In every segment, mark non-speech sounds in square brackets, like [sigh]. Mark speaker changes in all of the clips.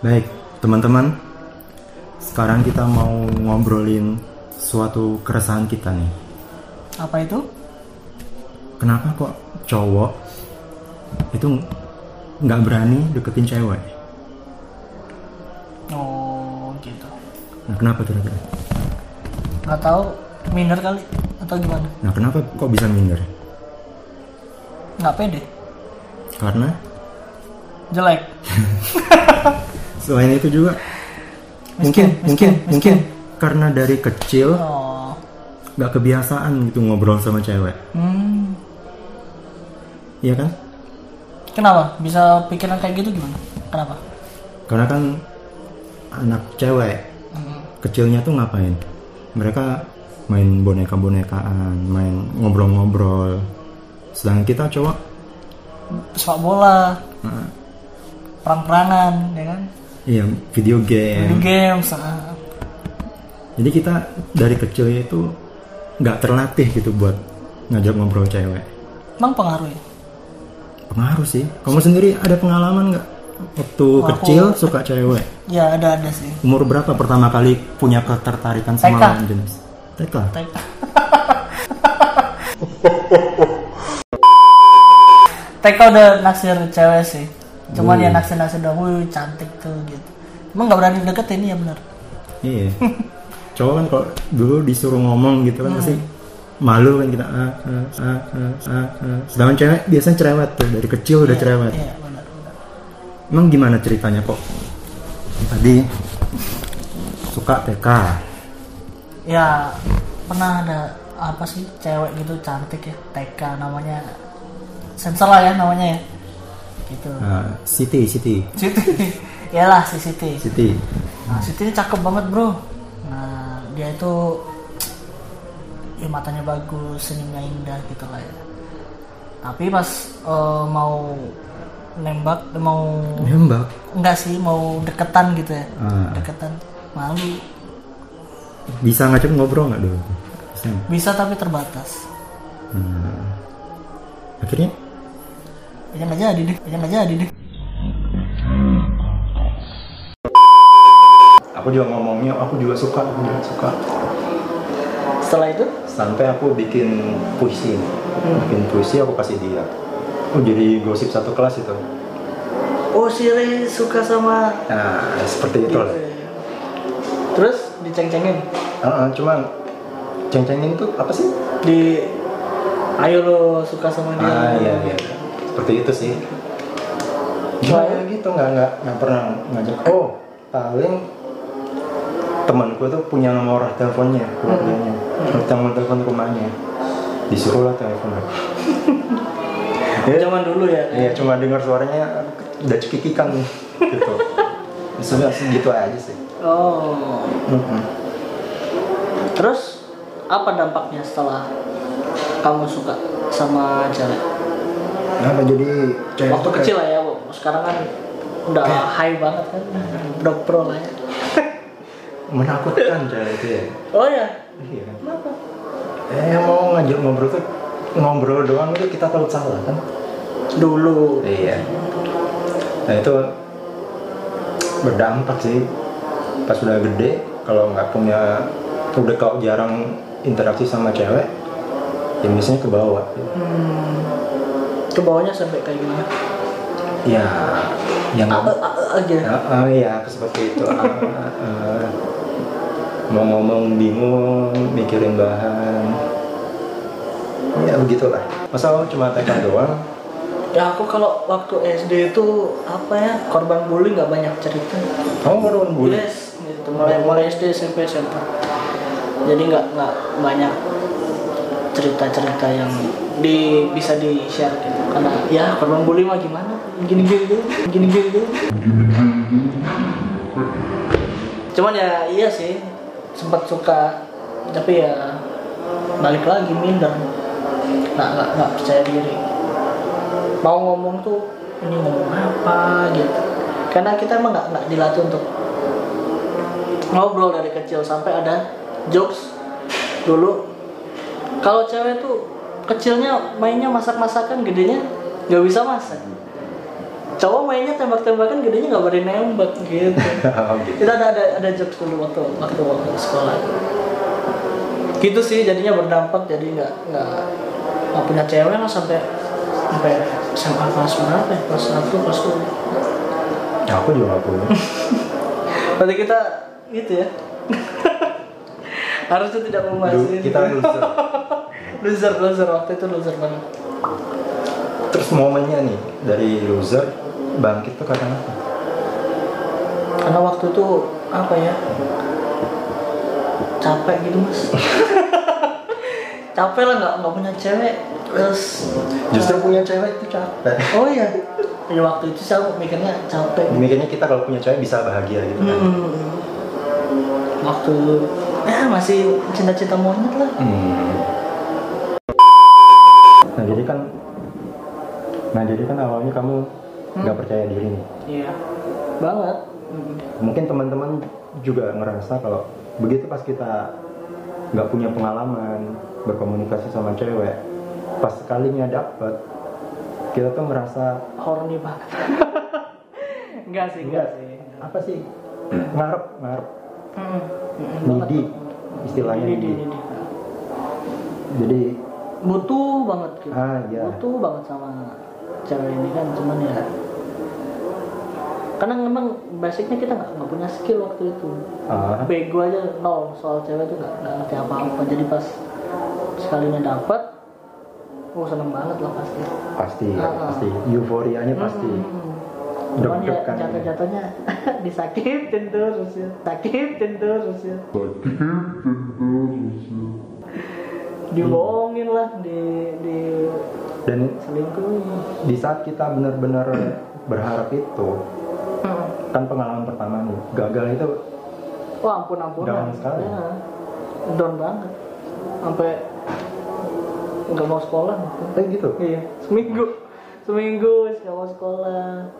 Speaker 1: Baik, teman-teman. Sekarang kita mau ngobrolin suatu keresahan kita nih.
Speaker 2: Apa itu?
Speaker 1: Kenapa kok cowok itu nggak berani deketin cewek?
Speaker 2: Oh gitu.
Speaker 1: Nah, kenapa kira-kira?
Speaker 2: Nggak tahu minder kali atau gimana?
Speaker 1: Nah, kenapa kok bisa minder?
Speaker 2: Nggak pede,
Speaker 1: Karena
Speaker 2: jelek,
Speaker 1: selain itu juga mungkin
Speaker 2: Miskin,
Speaker 1: mungkin
Speaker 2: miskin,
Speaker 1: mungkin karena dari kecil
Speaker 2: oh,
Speaker 1: nggak kebiasaan gitu ngobrol sama cewek,
Speaker 2: hmm,
Speaker 1: iya kan?
Speaker 2: kenapa? Bisa pikiran kayak gitu gimana? Kenapa?
Speaker 1: Karena kan anak cewek kecilnya tuh ngapain? Mereka main boneka-bonekaan, main ngobrol-ngobrol. Sedangkan kita cowok,
Speaker 2: Sepak bola,
Speaker 1: nah,
Speaker 2: perang-perangan, ya kan?
Speaker 1: iya video
Speaker 2: Video
Speaker 1: game.
Speaker 2: games, ah.
Speaker 1: Jadi kita dari kecilnya itu nggak terlatih gitu buat ngajak ngobrol cewek.
Speaker 2: emang pengaruh ya?
Speaker 1: Pengaruh sih. Kamu sendiri ada pengalaman nggak waktu
Speaker 2: Aku-
Speaker 1: kecil suka cewek?
Speaker 2: Ya ada ada sih.
Speaker 1: Umur berapa pertama kali punya ketertarikan sama
Speaker 2: TK.
Speaker 1: lawan jenis? TK.
Speaker 2: Tapi TK udah naksir cewek sih. Cuman ya naksir-naksir doang, "Wih, cantik tuh gitu. Emang nggak berani deketin ya benar.
Speaker 1: Iya. Cowok kan kalau dulu disuruh ngomong gitu kan
Speaker 2: Iya.
Speaker 1: pasti malu kan kita ah, ah, ah, ah, ah, ah. Sedangkan cewek biasanya cerewet tuh dari kecil udah cerewet.
Speaker 2: Iya benar benar.
Speaker 1: Emang gimana ceritanya kok? Tadi suka TK.
Speaker 2: Ya pernah ada apa sih cewek gitu cantik ya TK namanya sensor lah ya namanya ya gitu
Speaker 1: Ah, Siti, Siti,
Speaker 2: Siti [laughs] Yalah si Siti
Speaker 1: Siti.
Speaker 2: Nah, Siti ini cakep banget bro. Nah, dia itu ya matanya bagus, senyumnya indah gitu lah ya. Tapi pas eh, mau nembak, mau
Speaker 1: Nembak.
Speaker 2: enggak sih, mau deketan gitu ya,
Speaker 1: Ah.
Speaker 2: deketan malu.
Speaker 1: Bisa ngajak ngobrol nggak dulu? Bisa. nggak?
Speaker 2: Bisa tapi terbatas.
Speaker 1: Hmm. Akhirnya
Speaker 2: Ya nggak jadi deh, ya nggak jadi deh.
Speaker 1: aku juga ngomongnya aku juga suka, aku juga suka.
Speaker 2: Setelah itu,
Speaker 1: sampai aku bikin puisi
Speaker 2: Hmm.
Speaker 1: bikin puisi aku kasih dia oh jadi gosip satu kelas itu
Speaker 2: oh si Ray suka sama gitu ya.
Speaker 1: nah seperti itu lah
Speaker 2: Terus diceng-cengin,
Speaker 1: Heeh, cuman ceng-cengin tuh apa sih
Speaker 2: di ayo lo suka sama dia.
Speaker 1: ah iya iya seperti itu sih cuma ya gitu nggak nggak nggak pernah ngajak oh paling temanku tuh punya nomor teleponnya keluarganya nomor telepon rumahnya disuruhlah telepon
Speaker 2: Zaman dulu ya.
Speaker 1: Iya cuma dengar suaranya udah cekikikan gitu. [laughs] Maksudnya segitu aja sih.
Speaker 2: Oh.
Speaker 1: Mm-mm.
Speaker 2: Terus apa dampaknya setelah kamu suka sama cewek?
Speaker 1: Kenapa jadi cewek
Speaker 2: Waktu
Speaker 1: tuh Iya, kayak- Iya.
Speaker 2: kecil lah ya, Bu. sekarang kan udah high banget kan, udah pro lah ya.
Speaker 1: menakutkan cewek itu ya?
Speaker 2: Oh ya,
Speaker 1: Iya.
Speaker 2: kenapa?
Speaker 1: Eh mau ngajak ngobrol tuh ngobrol doang itu kita takut salah kan?
Speaker 2: Dulu.
Speaker 1: Iya. Nah itu berdampak sih pas udah gede kalau nggak punya udah kalau jarang interaksi sama cewek ya biasanya ke bawah.
Speaker 2: Hmm. Ke bawahnya sampai kayak gimana?
Speaker 1: Ya yang
Speaker 2: A- a- a- aja.
Speaker 1: Ah, ah, iya, aku seperti itu. Ah, ah, ah. Mau ngomong bingung, mikirin bahan. Ya begitulah. Masa lo cuma TK doang?
Speaker 2: Ya aku kalau waktu SD itu apa ya korban bully nggak banyak cerita.
Speaker 1: Kamu baru bully?
Speaker 2: Yes, gitu. Mulai mulai SD SMP SMP. Jadi nggak nggak banyak cerita-cerita yang di bisa di share gitu. Karena ya korban bully mah gimana? Gini gini gini gini gini. gini. Cuman ya iya sih sempat suka tapi ya balik lagi minder. Nggak nggak nggak percaya diri. Mau ngomong tuh ini ngomong apa gitu. Karena kita emang nggak nggak dilatih untuk ngobrol dari kecil sampai ada jokes dulu kalau cewek tuh kecilnya mainnya masak-masakan gedenya nggak bisa masak cowok mainnya tembak-tembakan gedenya nggak berani nembak gitu kita ada ada ada jokes dulu waktu waktu waktu sekolah gitu sih jadinya berdampak jadi nggak nggak nggak punya cewek lah sampai sampai SMA kelas berapa ya kelas satu kelas dua
Speaker 1: Ya, aku juga gak punya.
Speaker 2: berarti kita gitu ya [laughs] harusnya tidak membahas
Speaker 1: Lu-
Speaker 2: ini
Speaker 1: kita loser.
Speaker 2: loser loser waktu itu loser banget
Speaker 1: Terus momennya nih dari loser bangkit tuh karena apa?
Speaker 2: karena waktu itu apa ya capek gitu
Speaker 1: [laughs]
Speaker 2: mas capek lah nggak nggak punya cewek terus eh,
Speaker 1: Justru punya cewek itu [laughs] capek.
Speaker 2: oh iya ya waktu itu saya mikirnya capek
Speaker 1: Mikirnya kita kalau punya cewek bisa bahagia gitu kan.
Speaker 2: hmm. waktu ya masih cinta-cinta monyet lah
Speaker 1: Hmm. Nah jadi kan, nah jadi kan awalnya kamu nggak percaya diri nih.
Speaker 2: iya banget Hmm.
Speaker 1: Mungkin teman-teman juga ngerasa kalau begitu pas kita nggak punya pengalaman berkomunikasi sama cewek, pas sekalinya dapet, kita tuh ngerasa
Speaker 2: horny banget [laughs] enggak sih enggak
Speaker 1: enggak
Speaker 2: sih
Speaker 1: apa "Iya sih ngarep ngarep
Speaker 2: Mm, mm, banget.
Speaker 1: nidi istilahnya
Speaker 2: Ini, ini,
Speaker 1: nidi
Speaker 2: ini.
Speaker 1: jadi
Speaker 2: butuh banget gitu
Speaker 1: ah ya
Speaker 2: butuh banget sama cewek ini kan cuman ya karena memang basicnya kita nggak nggak punya skill waktu itu
Speaker 1: ah
Speaker 2: bego aja nol soal cewek itu nggak nggak ngerti apa apa jadi pas sekalinya dapat oh seneng banget lah pasti
Speaker 1: pasti
Speaker 2: Ah.
Speaker 1: pasti euforianya pasti
Speaker 2: Hmm. cuman ya
Speaker 1: deg-degan
Speaker 2: jatuh-jatuhnya [laughs] disakitin terus ya sakitin terus ya dibohongin lah di di
Speaker 1: dan
Speaker 2: selingkuh
Speaker 1: di saat kita benar-benar berharap itu
Speaker 2: Hmm.
Speaker 1: kan pengalaman pertama nih gagal itu
Speaker 2: Wah ampun ampun.
Speaker 1: Down sekali.
Speaker 2: Ya. Down banget. Sampai nggak mau sekolah.
Speaker 1: kayak gitu
Speaker 2: Iya. Seminggu. Seminggu wis nggak mau sekolah.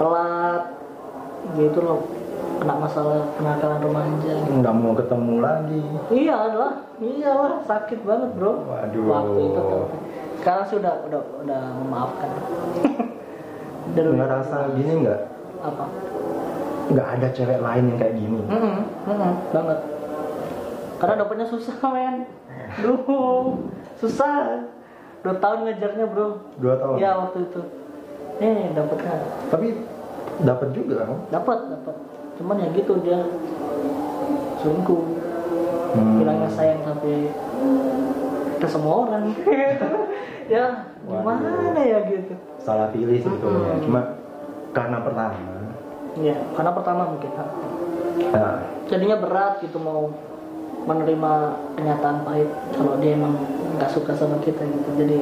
Speaker 2: Telat. Gitu loh. Kena masalah kenakalan remaja.
Speaker 1: nggak mau ketemu lagi
Speaker 2: Iya lah. Iya lah. Sakit banget bro.
Speaker 1: Waduh.
Speaker 2: Waktu itu tuh. Sekarang sudah udah udah memaafkan. Udah lebih-
Speaker 1: ngerasa gini nggak
Speaker 2: apa?
Speaker 1: nggak ada cewek lain yang kayak gini
Speaker 2: Mm-mm, mm-mm, banget. Karena dapetnya susah men. Duh, susah. Dua tahun ngejarnya bro.
Speaker 1: dua tahun
Speaker 2: Ya waktu itu. Nih dapetnya,
Speaker 1: tapi dapat juga kan
Speaker 2: dapat dapat. Cuman ya gitu dia selingkuh.
Speaker 1: Hmm.
Speaker 2: Bilangnya sayang tapi ke semua orang. [laughs] ya gimana
Speaker 1: Waduh.
Speaker 2: ya gitu.
Speaker 1: salah pilih sebetulnya
Speaker 2: Mm-mm.
Speaker 1: cuma karena pertama
Speaker 2: Ya karena pertama mungkin. ha.
Speaker 1: nah
Speaker 2: Jadinya berat gitu mau menerima kenyataan pahit kalau dia emang nggak suka sama kita gitu. Jadi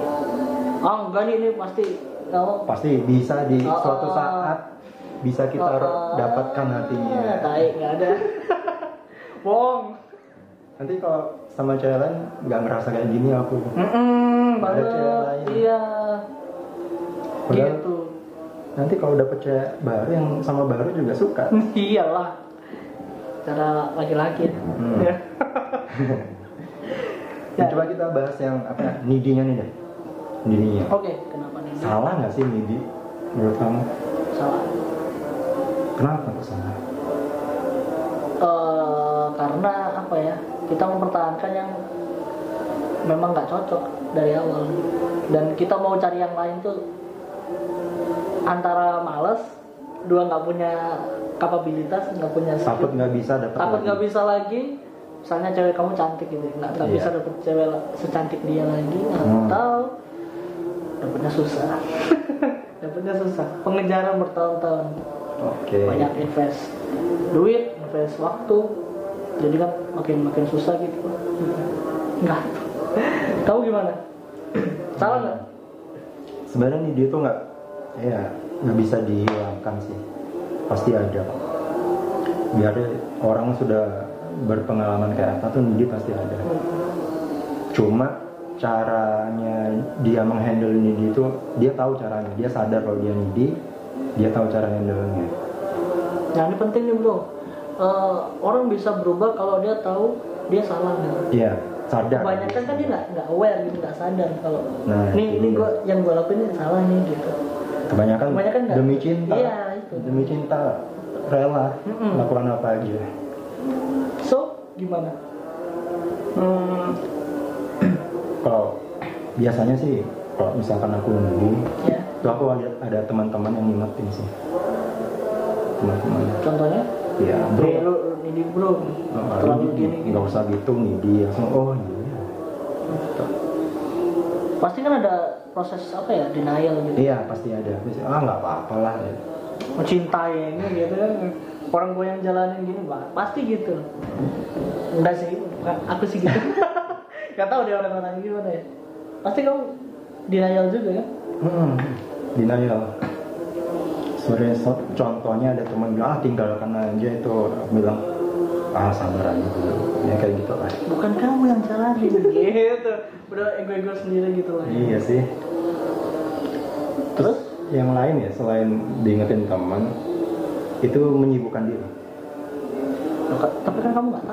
Speaker 2: ah enggak nih ini pasti kalau
Speaker 1: pasti bisa di
Speaker 2: Oh,
Speaker 1: suatu
Speaker 2: oh.
Speaker 1: saat bisa kita dapatkan hatinya
Speaker 2: Baik Iya, nggak ada. [laughs] Bohong.
Speaker 1: nanti kalau sama cewek lain nggak ngerasa kayak gini aku
Speaker 2: Mm-mm,
Speaker 1: Nggak ada
Speaker 2: banget.
Speaker 1: cewek lain.
Speaker 2: Iya.
Speaker 1: Padahal-
Speaker 2: Gitu.
Speaker 1: nanti kalau dapet cewek baru yang sama baru juga suka
Speaker 2: Iyalah. Cara laki-laki.
Speaker 1: Hmm.
Speaker 2: Ya.
Speaker 1: Nah, coba kita bahas yang apa ya, nidinya nih deh nidinya
Speaker 2: Oke, kenapa nih?
Speaker 1: salah nggak sih nidi menurut kamu
Speaker 2: Salah.
Speaker 1: kenapa kok salah
Speaker 2: eh karena apa ya kita mempertahankan yang memang nggak cocok dari awal dan kita mau cari yang lain tuh antara males dua nggak punya kapabilitas nggak punya
Speaker 1: takut
Speaker 2: skill
Speaker 1: nggak bisa dapet
Speaker 2: takut nggak
Speaker 1: lagi.
Speaker 2: bisa lagi misalnya cewek kamu cantik gitu nggak nggak
Speaker 1: Iya.
Speaker 2: bisa dapet cewek la- secantik dia lagi
Speaker 1: Hmm.
Speaker 2: atau dapetnya susah [laughs] dapetnya susah pengejaran
Speaker 1: Iya,
Speaker 2: bertahun-tahun
Speaker 1: oke
Speaker 2: banyak invest duit, invest waktu, jadi kan makin makin susah gitu. [laughs] Enggak. Kamu gimana?
Speaker 1: Hmm.
Speaker 2: Salah nggak?
Speaker 1: sebenarnya nidi itu nggak ya nggak bisa dihilangkan sih pasti ada kok. biar orang sudah berpengalaman kayak apa tuh nidi pasti ada cuma caranya dia menghandle nidi itu dia tahu caranya dia sadar kalau dia nidi dia tahu cara handle-nya
Speaker 2: Nah ini penting nih bro. Eh, orang bisa berubah kalau dia tahu dia salah nggak.
Speaker 1: iya sadar
Speaker 2: Kebanyakan kan dia nggak nggak aware gitu, nggak sadar kalau
Speaker 1: Nah,
Speaker 2: nih
Speaker 1: itu
Speaker 2: ini
Speaker 1: dia.
Speaker 2: gua yang gua lakuin ini salah nih gitu.
Speaker 1: kebanyakan,
Speaker 2: Kebanyakan nggak?
Speaker 1: demi cinta
Speaker 2: Iya, itu.
Speaker 1: demi cinta rela
Speaker 2: Mm-mm.
Speaker 1: lakukan apa aja
Speaker 2: So, gimana?
Speaker 1: Hmm, kalau biasanya sih kalau misalkan aku nunggu
Speaker 2: Ya,
Speaker 1: tuh aku ada, ada teman-teman yang ngingetin sih teman-teman
Speaker 2: contohnya?
Speaker 1: ya bro
Speaker 2: Bro, Iya, lu ini bro,
Speaker 1: oh, lu
Speaker 2: terlalu
Speaker 1: gini,
Speaker 2: gini gini.
Speaker 1: nggak usah gitu nih dia langsung oh iya Gitu.
Speaker 2: Pasti kan ada proses apa ya denial gitu.
Speaker 1: iya pasti ada Terus, ah nggak apa-apa lah
Speaker 2: mencintai ini gitu kan orang gue yang jalanin gini bah, pasti gitu enggak sih bukan. aku sih
Speaker 1: [laughs]
Speaker 2: gitu nggak tahu deh orang-orang gimana ya pasti kamu denial juga kan
Speaker 1: hmm, denial sebenarnya so- contohnya ada teman bilang ah tinggalkan aja itu aku bilang ah sabar aja dulu ya kayak gitu lah
Speaker 2: bukan kamu yang jalanin gitu udah ego-ego sendiri gitu lah ya.
Speaker 1: Iya sih. Terus yang lain ya selain diingetin teman itu menyibukkan diri.
Speaker 2: Loh, ka- tapi kan kamu nggak